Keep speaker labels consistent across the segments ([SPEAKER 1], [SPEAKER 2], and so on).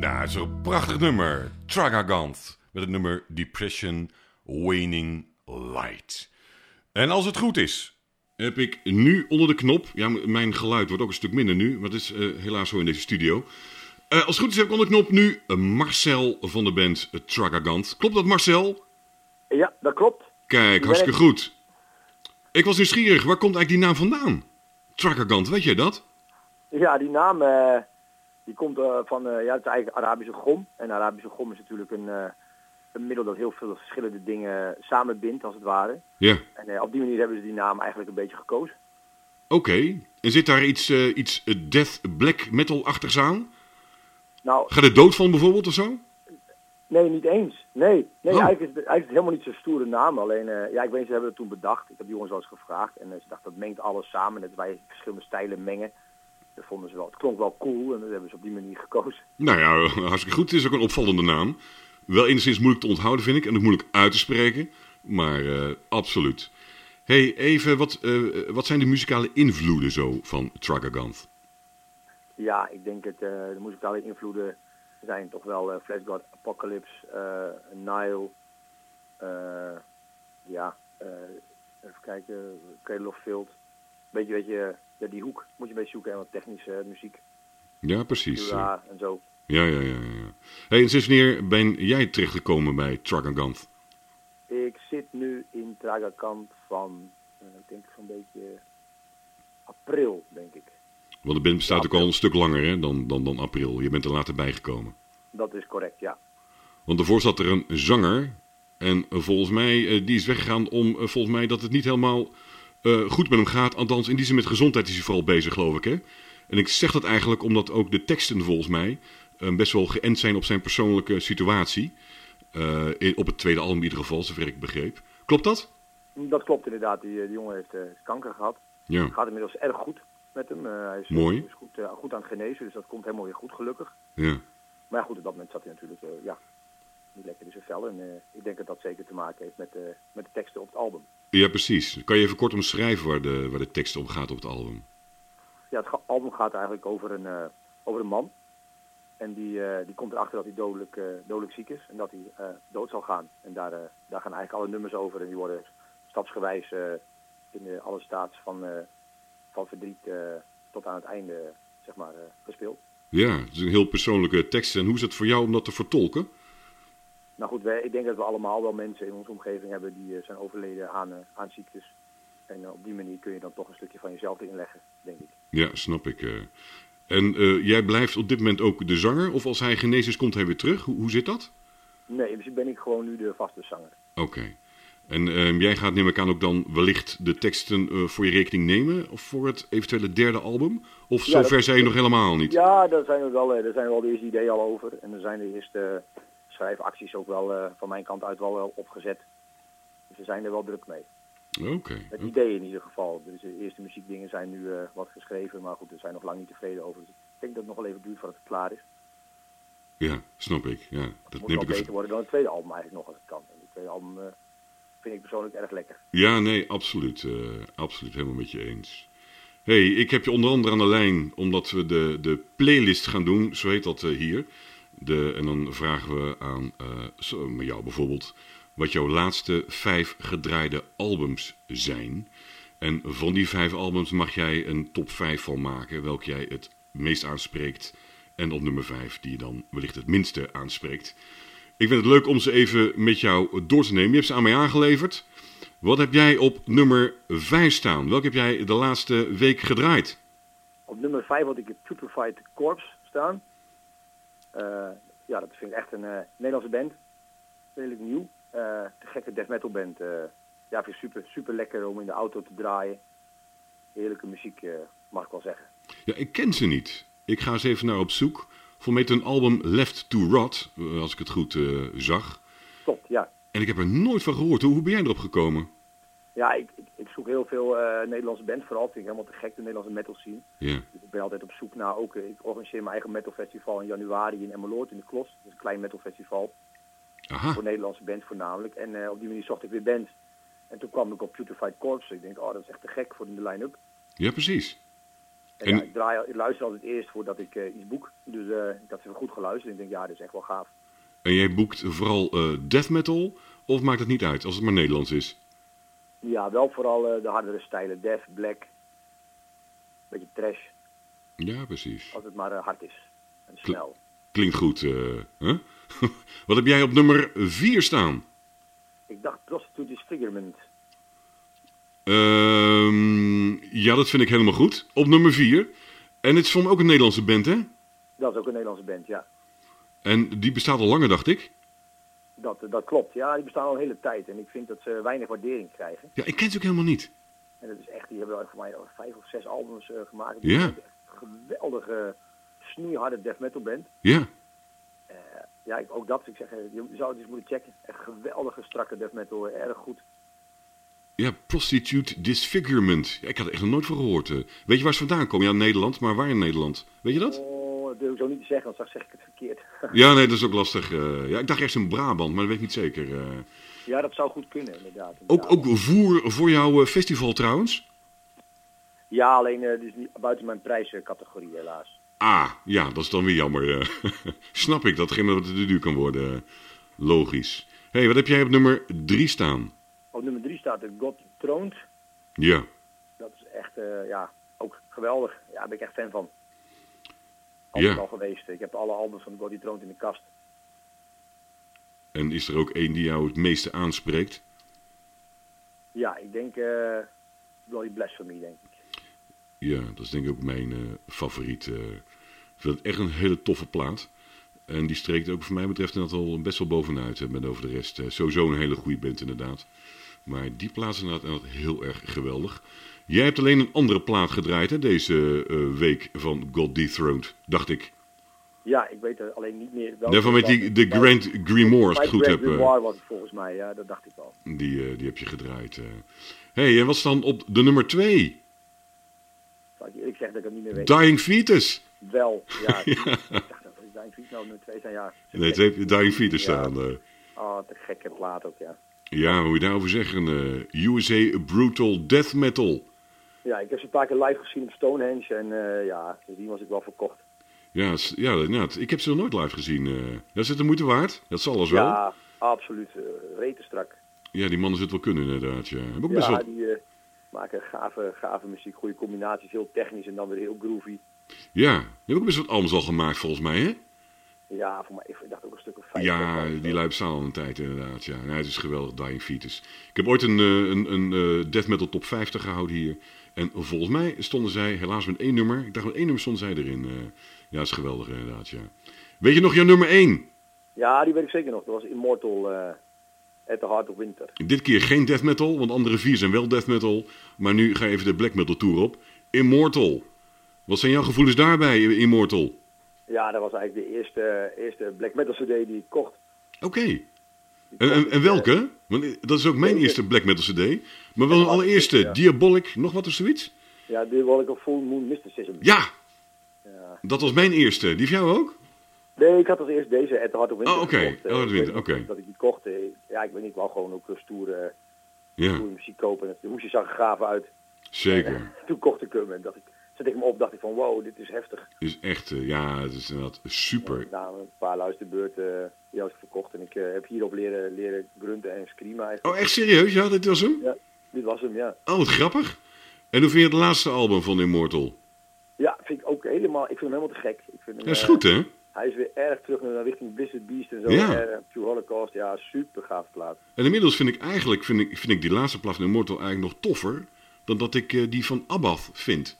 [SPEAKER 1] Ja, zo'n prachtig nummer. Tragagant. Met het nummer Depression Waning Light. En als het goed is, heb ik nu onder de knop... Ja, m- mijn geluid wordt ook een stuk minder nu. Maar dat is eh, helaas zo in deze studio. Eh, als het goed is heb ik onder de knop nu eh, Marcel van de band Tragagant. Klopt dat, Marcel?
[SPEAKER 2] Ja, dat klopt.
[SPEAKER 1] Kijk, hartstikke goed. Ik was nieuwsgierig. Waar komt eigenlijk die naam vandaan? Tragagant, weet jij dat?
[SPEAKER 2] Dus Ja, die naam eh, die komt eh, van eh, ja, het is eigenlijk Arabische gom. En Arabische gom is natuurlijk een, eh, een middel dat heel veel verschillende dingen samenbindt, als het ware.
[SPEAKER 1] Ja.
[SPEAKER 2] En eh, op die manier hebben ze die naam eigenlijk een beetje gekozen.
[SPEAKER 1] Oké. En zit daar iets, eh, iets eh, death black metal-achtigs aan?
[SPEAKER 2] Nou,
[SPEAKER 1] Gaat er dood van bijvoorbeeld of zo?
[SPEAKER 2] nee, niet eens. Nee, nee
[SPEAKER 1] Oh.
[SPEAKER 2] eigenlijk, is het, eigenlijk is het helemaal niet zo'n stoere naam. Alleen, eh, ja, ik weet, ze hebben het toen bedacht. Ik heb die jongens wel eens gevraagd. En eh, ze dachten, dat mengt alles samen. Dat wij verschillende stijlen mengen. Dat vonden ze wel, het klonk wel cool. En dat hebben ze op die manier gekozen.
[SPEAKER 1] Nou ja, hartstikke goed. Het is ook een opvallende naam. Wel enigszins moeilijk te onthouden, vind ik. En ook moeilijk uit te spreken. Maar eh, absoluut. hey, even, wat, eh, wat zijn de muzikale invloeden zo van Tragagant?
[SPEAKER 2] Ja, ik denk dat eh de muzikale invloeden zijn toch wel eh Flash God, Apocalypse, eh, Nile. eh, ja, eh, even kijken, Cradle of Field. Beetje, beetje, eh, ja, die hoek moet je een beetje zoeken en wat technische eh, muziek,
[SPEAKER 1] Ja, precies. Ja,
[SPEAKER 2] Cura en zo.
[SPEAKER 1] ja, ja. ja, ja. hey, en sinds wanneer ben jij terechtgekomen bij Tragagant?
[SPEAKER 2] Ik zit nu in Tragakant van, eh, ik denk zo'n beetje april, denk ik.
[SPEAKER 1] Want de band bestaat ook al een stuk langer hè, dan, dan, dan april. Je bent er later bijgekomen.
[SPEAKER 2] Dat is correct, ja.
[SPEAKER 1] Want daarvoor zat er een zanger. En eh, volgens mij, eh, die is weggegaan om, eh, volgens mij, dat het niet helemaal eh, goed met hem gaat. Althans, in die zin met gezondheid is hij vooral bezig, geloof ik. Hè? En ik zeg dat eigenlijk omdat ook de teksten, volgens mij, eh, best wel geënt zijn op zijn persoonlijke situatie. Eh, in- op het tweede album in ieder geval, zover ik begreep. Klopt dat?
[SPEAKER 2] Dat klopt inderdaad, die, eh, die jongen heeft eh, kanker gehad.
[SPEAKER 1] Ja.
[SPEAKER 2] Het gaat inmiddels erg goed met hem. Eh, hij is,
[SPEAKER 1] Mooi.
[SPEAKER 2] is goed, eh, goed aan het genezen, dus dat komt helemaal weer goed, gelukkig.
[SPEAKER 1] ja.
[SPEAKER 2] Maar ja, goed, op dat moment zat hij natuurlijk eh, ja, niet lekker in zijn vel. En eh, ik denk dat dat zeker te maken heeft met, eh, met de teksten op het album.
[SPEAKER 1] Ja, precies. Kan je even kort omschrijven waar de, waar de tekst om gaat op het album?
[SPEAKER 2] Ja, het ga- album gaat eigenlijk over een, eh, over een man. En die, eh, die komt erachter dat hij dodelijk, eh, dodelijk ziek is en dat hij eh, dood zal gaan. En daar, eh, daar gaan eigenlijk alle nummers over. En die worden stapsgewijs eh, in eh, alle staats van, eh, van verdriet eh, tot aan het einde zeg maar, eh, gespeeld.
[SPEAKER 1] Ja, het is een heel persoonlijke tekst. En hoe is het voor jou om dat te vertolken?
[SPEAKER 2] Nou goed, wij, ik denk dat we allemaal wel mensen in onze omgeving hebben die eh, zijn overleden aan, eh, aan ziektes. En eh, op die manier kun je dan toch een stukje van jezelf erin leggen, denk ik.
[SPEAKER 1] Ja, snap ik. eh. En eh, jij blijft op dit moment ook de zanger? Of als hij genezen is, komt hij weer terug? Hoe, hoe zit dat?
[SPEAKER 2] Nee, in principe ben ik gewoon nu de vaste zanger.
[SPEAKER 1] Oké. En ehm, jij gaat, neem ik aan, ook dan wellicht de teksten eh, voor je rekening nemen? Of voor het eventuele derde album? Of
[SPEAKER 2] Ja,
[SPEAKER 1] zover
[SPEAKER 2] dat-
[SPEAKER 1] zijn je nog helemaal niet?
[SPEAKER 2] Ja, daar zijn we wel, eh, daar zijn wel de eerste ideeën al over. En er zijn de eerste eh, schrijfacties ook wel eh, van mijn kant uit wel wel opgezet. Dus we zijn er wel druk mee.
[SPEAKER 1] Oké.
[SPEAKER 2] Het idee in ieder geval. Dus de eerste muziekdingen zijn nu eh, wat geschreven, maar goed, we zijn nog lang niet tevreden over. Dus ik denk dat het nog wel even duurt voordat het klaar is.
[SPEAKER 1] Ja, snap ik. Ja, dat
[SPEAKER 2] Het moet
[SPEAKER 1] neem
[SPEAKER 2] wel
[SPEAKER 1] ik even...
[SPEAKER 2] beter worden dan het tweede album eigenlijk nog als het kan. En het tweede album eh, vind ik persoonlijk erg lekker.
[SPEAKER 1] Ja, nee, absoluut. eh, absoluut helemaal met je eens. hey, ik heb je onder andere aan de lijn omdat we de, de playlist gaan doen, zo heet dat eh, hier. De, en dan vragen we aan eh, zo, maar jou bijvoorbeeld wat jouw laatste vijf gedraaide albums zijn. En van die vijf albums mag jij een top vijf van maken, welke jij het meest aanspreekt. En op nummer vijf die je dan wellicht het minste aanspreekt. Ik vind het leuk om ze even met jou door te nemen. Je hebt ze aan mij aangeleverd. Wat heb jij op nummer 5 staan? Welke heb jij de laatste week gedraaid?
[SPEAKER 2] Op nummer 5 had ik het Putrefied Corpse staan. Eh, ja, dat vind ik echt een eh, Nederlandse band. Redelijk nieuw. Eh de gekke death metal band. eh. ja, vind ik super, super lekker om in de auto te draaien. Heerlijke muziek, eh, mag ik wel zeggen.
[SPEAKER 1] Ja, ik ken ze niet. Ik ga eens even naar op zoek. Voor mij een album Left to Rot, eh, als ik het goed eh, zag.
[SPEAKER 2] Klopt, ja.
[SPEAKER 1] En ik heb er nooit van gehoord. Hoe, hoe ben jij erop gekomen?
[SPEAKER 2] Ja, ik, ik, ik zoek heel veel eh, Nederlandse bands vooral. Vind ik helemaal te gek, de Nederlandse metal scene.
[SPEAKER 1] Ja,
[SPEAKER 2] Dus ik ben altijd op zoek naar ook. eh, Ik organiseer mijn eigen metalfestival in januari in Emmeloord in de Klos. Dat is een klein metalfestival
[SPEAKER 1] aha.
[SPEAKER 2] voor Nederlandse bands voornamelijk. En eh, op die manier zocht ik weer bands. En toen kwam ik op Putrefied Corpse. Ik denk, oh, dat is echt te gek voor in de line-up.
[SPEAKER 1] Ja, precies.
[SPEAKER 2] En,
[SPEAKER 1] En-
[SPEAKER 2] ja, ik, draai, al- ik luister altijd eerst voordat ik eh, iets boek. Dus eh, ik had ze goed geluisterd. Ik denk, ja, dit is echt wel gaaf.
[SPEAKER 1] En jij boekt vooral eh, death metal? Of maakt het niet uit als het maar Nederlands is?
[SPEAKER 2] Ja, wel vooral eh, de hardere stijlen. Death, black. Beetje trash,
[SPEAKER 1] Ja, precies.
[SPEAKER 2] als het maar eh, hard is. En snel.
[SPEAKER 1] Klinkt goed. eh, hè? Wat heb jij op nummer 4 staan?
[SPEAKER 2] Ik dacht Prostitute Disfigurement.
[SPEAKER 1] Ehm, ja, dat vind ik helemaal goed. Op nummer 4. En het is voor mij ook een Nederlandse band, hè?
[SPEAKER 2] Dat is ook een Nederlandse band, ja.
[SPEAKER 1] En die bestaat al langer, dacht ik.
[SPEAKER 2] Dat, eh, dat klopt. Ja, die bestaan al een hele tijd. En ik vind dat ze weinig waardering krijgen.
[SPEAKER 1] Ja, ik ken ze ook helemaal niet.
[SPEAKER 2] En dat is echt, die hebben voor mij al vijf of zes albums eh, gemaakt.
[SPEAKER 1] Ja.
[SPEAKER 2] Echt een geweldige, snoeiharde death metal band.
[SPEAKER 1] Ja,
[SPEAKER 2] Ja, ik, ook dat. Ik zeg, eh, je zou het eens moeten checken. Echt geweldige, strakke death metal. eh, Erg goed.
[SPEAKER 1] ja Prostitute Disfigurement. Ja, ik had er echt nog nooit van gehoord. eh. Weet je waar ze vandaan komen? Ja, Nederland, maar waar in Nederland? Weet je dat?
[SPEAKER 2] Oh, dat wil ik zo niet zeggen, want straks zeg ik het verkeerd.
[SPEAKER 1] Ja, nee, dat is ook lastig. eh. ja, ik dacht eerst in Brabant, maar dat weet ik niet zeker. eh.
[SPEAKER 2] ja, dat zou goed kunnen, inderdaad.
[SPEAKER 1] ook,
[SPEAKER 2] inderdaad.
[SPEAKER 1] ook voer voor jouw eh, festival trouwens?
[SPEAKER 2] Ja, alleen eh dus niet buiten mijn prijscategorie helaas.
[SPEAKER 1] Ah, ja, dat is dan weer jammer. eh. Snap ik dat geen wat te duur kan worden. eh. Logisch. Hé, hey, wat heb jij op nummer 3 staan?
[SPEAKER 2] Op nummer drie staat de God Thrones.
[SPEAKER 1] Ja.
[SPEAKER 2] Dat is echt, eh, ja, ook geweldig. Ja, daar ben ik echt fan van. Altijd
[SPEAKER 1] Ja.
[SPEAKER 2] al geweest. Ik heb alle albums van God Thrones in de kast.
[SPEAKER 1] En is er ook één die jou het meeste aanspreekt?
[SPEAKER 2] Ja, ik denk eh Bloody Blasphemy, denk ik.
[SPEAKER 1] Ja, dat is denk ik ook mijn eh, favoriet. eh. ik vind het echt een hele toffe plaat. En die streekt ook voor mij betreft inderdaad al best wel bovenuit. eh, met over de rest eh, sowieso een hele goede band inderdaad. Maar die plaat is inderdaad, inderdaad heel erg geweldig. Jij hebt alleen een andere plaat gedraaid hè, deze eh, week van God Dethroned, dacht ik.
[SPEAKER 2] Ja, ik weet er alleen niet meer welke.
[SPEAKER 1] Daarvan met die, de Grand Grimoire, als ik
[SPEAKER 2] Bij
[SPEAKER 1] het goed
[SPEAKER 2] Grand
[SPEAKER 1] heb. eh,
[SPEAKER 2] Grimoire was het volgens mij, ja, dat dacht ik al.
[SPEAKER 1] die, eh, die heb je gedraaid. eh. hey, en wat is dan op de nummer 2?
[SPEAKER 2] Zal Ik eerlijk zeggen dat ik het niet meer weet.
[SPEAKER 1] Dying Fetus.
[SPEAKER 2] Wel, ja. Ik dacht, dat is Dying Feet nou nummer twee zijn, ja.
[SPEAKER 1] Nee, het heeft Dying Feet er
[SPEAKER 2] Ja.
[SPEAKER 1] staan. eh.
[SPEAKER 2] Oh, te gekke plaat ook, ja.
[SPEAKER 1] ja, hoe moet je daarover zeggen? eh, USA Brutal Death Metal.
[SPEAKER 2] Ja, ik heb ze een paar keer live gezien op Stonehenge en eh, ja, dus die was ik wel verkocht.
[SPEAKER 1] Ja, s- ja inderdaad. ik heb ze nog nooit live gezien. eh. Ja, is het de moeite waard? Dat zal alles wel.
[SPEAKER 2] Ja, absoluut. eh retenstrak.
[SPEAKER 1] Ja, die mannen zullen het wel kunnen inderdaad. Ja, heb ook best
[SPEAKER 2] Ja,
[SPEAKER 1] wel...
[SPEAKER 2] die eh, maken gave, gave muziek, goede combinaties, heel technisch en dan weer heel groovy.
[SPEAKER 1] ja die hebben ook best wat albums al gemaakt volgens mij, hè?
[SPEAKER 2] Ja, voor mij, ik dacht ook een stuk of vijf.
[SPEAKER 1] Ja, die lui bestaan al een tijd inderdaad. Ja. Ja, het is geweldig, Dying Fetus. Ik heb ooit een, eh, een, een eh, death metal top 50 gehouden hier. En volgens mij stonden zij helaas met één nummer. Ik dacht met één nummer stonden zij erin. eh. ja, is geweldig inderdaad, ja. Weet je nog jouw nummer 1?
[SPEAKER 2] Ja, die weet ik zeker nog. Dat was Immortal eh at the Heart of Winter.
[SPEAKER 1] Dit keer geen death metal, want andere vier zijn wel death metal. Maar nu ga je even de black metal tour op. Immortal. Wat zijn jouw gevoelens daarbij, Immortal?
[SPEAKER 2] Ja, dat was eigenlijk de eerste, eerste black metal cd die ik kocht.
[SPEAKER 1] Oké. En, en, en welke? Want dat is ook mijn eerste black metal cd. Maar wel een allereerste. Diabolic, nog wat of zoiets?
[SPEAKER 2] Ja, die wil ik op Full Moon Mysticism.
[SPEAKER 1] Ja! Dat was mijn eerste. Die van jou ook?
[SPEAKER 2] Nee, ik had als eerst deze At the Heart of Winter
[SPEAKER 1] Oh, oké.
[SPEAKER 2] gekocht, eh,
[SPEAKER 1] At the Heart of
[SPEAKER 2] ik weet
[SPEAKER 1] Winter,
[SPEAKER 2] niet
[SPEAKER 1] oké.
[SPEAKER 2] Dat ik die kocht. eh, ja, ik weet niet, wel gewoon ook eh, stoere,
[SPEAKER 1] Ja,
[SPEAKER 2] stoere muziek kopen. De hoesje zag er gaaf uit.
[SPEAKER 1] zeker.
[SPEAKER 2] Toen kocht ik hem en dacht ik, zet ik hem op, dacht ik van wow, dit is heftig.
[SPEAKER 1] Is echt, eh, ja, het is inderdaad super.
[SPEAKER 2] Na een paar luisterbeurten eh, die had ik verkocht en ik eh, heb hierop leren, leren grunten en screamen eigenlijk.
[SPEAKER 1] Oh, echt serieus? Ja, dit was hem?
[SPEAKER 2] Ja, dit was hem, ja.
[SPEAKER 1] Oh, wat grappig. En hoe vind je het laatste album van Immortal?
[SPEAKER 2] Ja, vind ik ook helemaal, ik vind hem helemaal te gek. Ik vind hem,
[SPEAKER 1] Ja, is
[SPEAKER 2] eh,
[SPEAKER 1] goed, hè?
[SPEAKER 2] Hij is weer erg terug naar richting Blizzard Beast en zo.
[SPEAKER 1] Ja.
[SPEAKER 2] En, eh, True Holocaust, ja, super gaaf plaat.
[SPEAKER 1] En inmiddels vind ik eigenlijk vind ik, vind ik die laatste plaat van Immortal eigenlijk nog toffer dan dat ik eh, die van Abbath vind.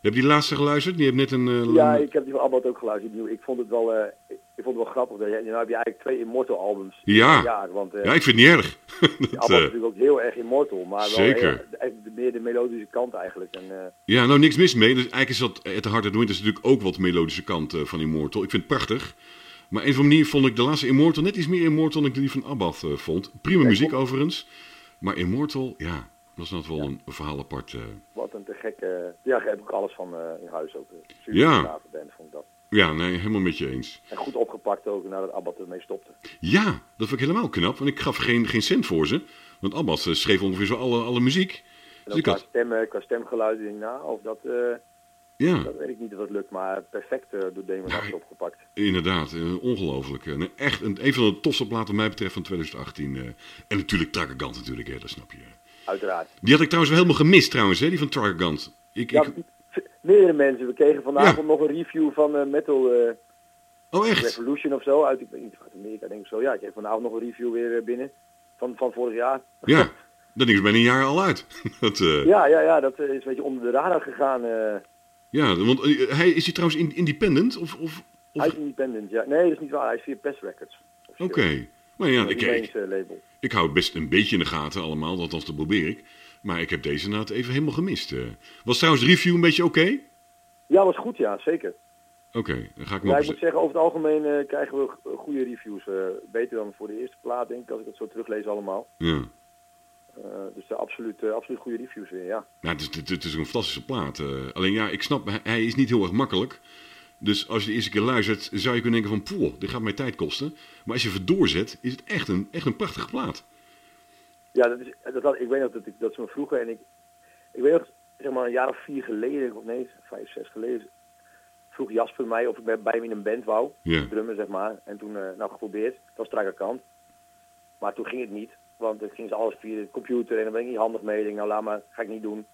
[SPEAKER 1] Heb je die laatste geluisterd? Die heeft net een... eh,
[SPEAKER 2] Ja,
[SPEAKER 1] lang-
[SPEAKER 2] ik heb die van Abbott ook geluisterd. die- Ik vond het wel, eh, ik ik vond het wel grappig. Dat, je- nou heb je eigenlijk twee Immortal albums in
[SPEAKER 1] Ja.
[SPEAKER 2] een jaar. Want eh
[SPEAKER 1] ja, ik vind het niet erg. Dat,
[SPEAKER 2] Abbott is
[SPEAKER 1] eh,
[SPEAKER 2] natuurlijk ook heel erg Immortal. Maar wel
[SPEAKER 1] Zeker.
[SPEAKER 2] heel- echt de- meer de melodische kant eigenlijk. En, eh,
[SPEAKER 1] Ja, nou niks mis mee. Dus eigenlijk is dat eh, At the Heart of the Winter is natuurlijk ook wat melodische kant eh, van Immortal. Ik vind het prachtig. Maar een van de manier vond ik de laatste Immortal net iets meer Immortal dan ik die van Abbath eh, vond. Prima muziek overigens. Maar Immortal, ja, dat is nog wel een verhaal apart. eh.
[SPEAKER 2] Wat een te gekke... Ja, daar heb ik alles van eh, in huis ook. eh, Super
[SPEAKER 1] Ja.
[SPEAKER 2] gave band, vond ik dat.
[SPEAKER 1] Ja, nee, helemaal met je eens.
[SPEAKER 2] En goed opgepakt ook nadat Abbott ermee stopte.
[SPEAKER 1] Ja, dat vond ik helemaal knap, want ik gaf geen, geen cent voor ze. Want Abbas eh, schreef ongeveer zo alle, alle muziek.
[SPEAKER 2] En
[SPEAKER 1] Dus
[SPEAKER 2] ook
[SPEAKER 1] ik
[SPEAKER 2] qua,
[SPEAKER 1] had,
[SPEAKER 2] stemmen, qua stemgeluiden, denk ik, nou, of dat... eh,
[SPEAKER 1] Ja,
[SPEAKER 2] Dat weet ik niet of dat lukt, maar perfect eh door Damon
[SPEAKER 1] Ja,
[SPEAKER 2] had het opgepakt.
[SPEAKER 1] inderdaad. eh, Ongelooflijk. En echt een, een van de tofste platen, mij betreft, van 2018. eh. en natuurlijk Trakagant, natuurlijk, hè, dat snap je.
[SPEAKER 2] Uiteraard.
[SPEAKER 1] Die had ik trouwens helemaal gemist, trouwens, hè, die van Trakagant. Ik,
[SPEAKER 2] Ja,
[SPEAKER 1] ik,
[SPEAKER 2] v- meerdere mensen. We kregen vanavond
[SPEAKER 1] Ja.
[SPEAKER 2] nog een review van eh, Metal eh,
[SPEAKER 1] oh, echt?
[SPEAKER 2] Revolution of zo. Uit, ik weet niet, uit Amerika denk ik zo. Ja, ik kreeg vanavond nog een review weer eh, binnen van, van vorig jaar.
[SPEAKER 1] Ja, dat ding is bijna een jaar al uit. Dat, eh,
[SPEAKER 2] Ja, ja, ja. Dat eh, is een beetje onder de radar gegaan. eh,
[SPEAKER 1] ja, want eh, hij, is hij trouwens in- independent? Of, of, of...
[SPEAKER 2] Hij is independent, ja. Nee, dat is niet waar. Hij is via Pest Records.
[SPEAKER 1] Oké. Maar ja,
[SPEAKER 2] Ik
[SPEAKER 1] ik, ik,
[SPEAKER 2] label.
[SPEAKER 1] ik hou het best een beetje in de gaten allemaal, althans dat probeer ik. Maar ik heb deze naad even helemaal gemist. eh. Was trouwens de review een beetje oké?
[SPEAKER 2] Ja, was goed, ja, zeker.
[SPEAKER 1] Oké, dan ga ik
[SPEAKER 2] Ja,
[SPEAKER 1] maar...
[SPEAKER 2] ik moet zeggen, over het algemeen eh, krijgen we go- goede reviews. eh, beter dan voor de eerste plaat, denk ik, als ik het zo teruglees allemaal.
[SPEAKER 1] Ja.
[SPEAKER 2] Eh, dus eh, absoluut, eh, absoluut goede reviews weer, ja.
[SPEAKER 1] Nou, het, is, het, het is een fantastische plaat. eh. alleen ja, ik snap, hij, hij is niet heel erg makkelijk. Dus als je de eerste keer luistert, zou je kunnen denken van... Poeh, dit gaat mij tijd kosten. Maar als je even doorzet, is het echt een, echt een prachtige plaat.
[SPEAKER 2] Ja, dat is, eh, dat, had- ik weet nog dat, ik, dat ze me vroegen en ik... Ik weet nog, zeg maar, een jaar of vier geleden, of nee, vijf, zes geleden... vroeg Jasper mij of ik bij bij hem in een band wou.
[SPEAKER 1] Ja.
[SPEAKER 2] drummen, zeg maar. En toen, eh, nou, geprobeerd. Dat was strakke kant. Maar toen ging het niet. Want het ging ze alles via de computer en daar ben ik niet handig mee. Ik denk, nou, laat maar, ga ik niet doen.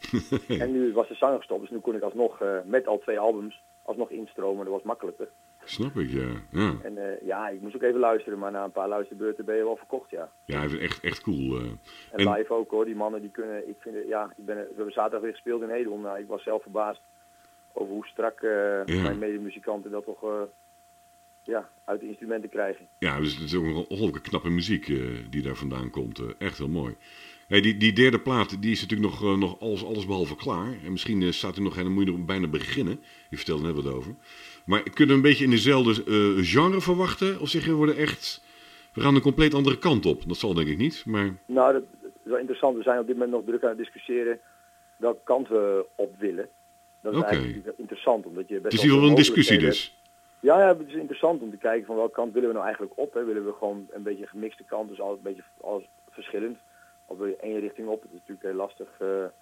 [SPEAKER 2] en nu was de zanger gestopt, dus nu kon ik alsnog, eh, met al twee albums, alsnog instromen. Dat was makkelijker.
[SPEAKER 1] Snap ik, ja. Ja,
[SPEAKER 2] En eh, ja, ik moest ook even luisteren, maar na een paar luisterbeurten ben je wel verkocht, ja.
[SPEAKER 1] ja hij is echt, echt cool. eh.
[SPEAKER 2] En,
[SPEAKER 1] En-
[SPEAKER 2] live ook hoor, die mannen die kunnen, ik vind, het- ja, ik ben, we hebben zaterdag weer gespeeld in Hedel. Nou, ik was zelf verbaasd over hoe strak eh,
[SPEAKER 1] Ja.
[SPEAKER 2] mijn medemuzikanten dat toch, eh, ja, uit de instrumenten krijgen.
[SPEAKER 1] Ja, dus het is ook een ongelooflijke knappe muziek eh, die daar vandaan komt. eh, echt heel mooi. Hey, die, die derde plaat die is natuurlijk nog, eh, nog alles, alles behalve klaar. En misschien eh, staat er nog en dan moet je er bijna beginnen. Je vertelde net wat over. Maar kunnen we een beetje in dezelfde eh, genre verwachten? Of zeg je, we worden echt... We gaan een compleet andere kant op. Dat zal denk ik niet, maar...
[SPEAKER 2] Nou, dat dat is wel interessant. We zijn op dit moment nog druk aan het discussiëren welke kant we op willen. Dat is
[SPEAKER 1] Oké.
[SPEAKER 2] eigenlijk wel interessant, omdat je
[SPEAKER 1] Het
[SPEAKER 2] best
[SPEAKER 1] is in ieder geval
[SPEAKER 2] veel
[SPEAKER 1] een discussie
[SPEAKER 2] mogelijkheden
[SPEAKER 1] dus.
[SPEAKER 2] hebt. Ja, ja, het is interessant om te kijken van welke kant willen we nou eigenlijk op. Hè? Willen we gewoon een beetje een gemixte kant, dus alles, een beetje alles verschillend. Of wil je één richting op? Dat is natuurlijk heel lastig. eh, er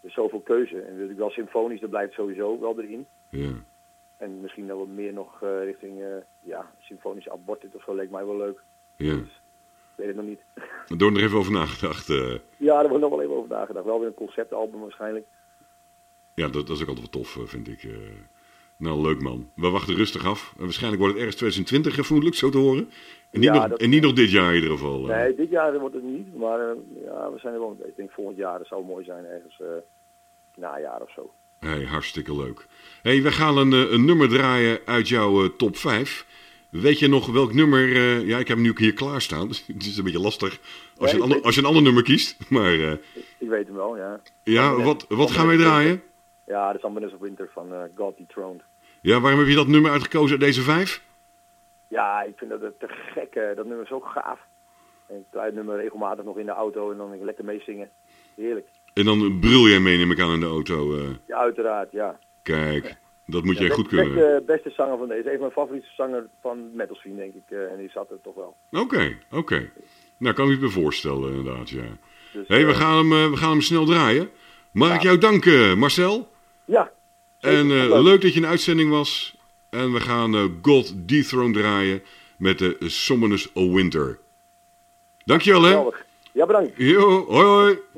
[SPEAKER 2] is zoveel keuze. En natuurlijk wel symfonisch, dat blijft sowieso wel erin.
[SPEAKER 1] Ja.
[SPEAKER 2] En misschien wel wat meer nog eh, richting eh, ja, symfonisch abortus of zo leek mij wel leuk.
[SPEAKER 1] ja.
[SPEAKER 2] Ik weet het nog niet.
[SPEAKER 1] Door er even over nagedacht. eh.
[SPEAKER 2] Ja, daar wordt nog wel even over nagedacht. Wel weer een conceptalbum waarschijnlijk.
[SPEAKER 1] Ja, dat, dat is ook altijd wel tof, eh, vind ik. eh. nou, leuk man. We wachten rustig af. En waarschijnlijk wordt het ergens 2020 gevoelelijk, zo te horen. En niet,
[SPEAKER 2] Ja,
[SPEAKER 1] nog,
[SPEAKER 2] dat-
[SPEAKER 1] en niet nog dit jaar in ieder geval. eh.
[SPEAKER 2] Nee, dit jaar wordt het niet, maar eh, ja, we zijn er wel mee. Ik denk volgend jaar, dat zou mooi zijn, ergens eh najaar of zo.
[SPEAKER 1] Hey, hartstikke leuk. hey, we gaan een, eh, een nummer draaien uit jouw eh, top 5. Weet je nog welk nummer... eh, ja, ik heb hem nu ook hier klaarstaan. Dus het is een beetje lastig als je een,
[SPEAKER 2] Nee,
[SPEAKER 1] ander,
[SPEAKER 2] ik-
[SPEAKER 1] als je een ander nummer kiest. Maar eh,
[SPEAKER 2] Ik weet hem wel, ja.
[SPEAKER 1] ja,
[SPEAKER 2] Nee.
[SPEAKER 1] wat, wat gaan wij draaien?
[SPEAKER 2] Ja, de is Ambenes of Winter van eh, God Dethroned.
[SPEAKER 1] Ja, waarom heb je dat nummer uitgekozen uit deze vijf?
[SPEAKER 2] Ja, ik vind dat het te gek, eh, dat nummer is ook gaaf. En ik draai het nummer regelmatig nog in de auto en dan lekker meezingen. Heerlijk.
[SPEAKER 1] En dan brul jij mee, neem ik aan, in de auto. eh.
[SPEAKER 2] Ja, uiteraard, ja.
[SPEAKER 1] kijk, dat moet
[SPEAKER 2] Ja,
[SPEAKER 1] jij
[SPEAKER 2] best-
[SPEAKER 1] goed kunnen.
[SPEAKER 2] Beste, eh, beste zanger van deze. Een van mijn favoriete zanger van metal scene, denk ik. eh, en die zat er toch wel.
[SPEAKER 1] Oké, oké. Nou, kan ik me voorstellen, inderdaad, ja.
[SPEAKER 2] Dus,
[SPEAKER 1] Hé, hey, we,
[SPEAKER 2] eh,
[SPEAKER 1] gaan hem, eh, we gaan hem snel draaien. Mag ik
[SPEAKER 2] Ja.
[SPEAKER 1] jou danken, eh, Marcel?
[SPEAKER 2] Ja. Zeker,
[SPEAKER 1] En eh,
[SPEAKER 2] leuk.
[SPEAKER 1] leuk dat je in de uitzending was. En we gaan eh, God Dethrone draaien met de Summoners of Winter. Dankjewel, hè?
[SPEAKER 2] Geweldig. Ja, bedankt.
[SPEAKER 1] Jo, hoi, hoi.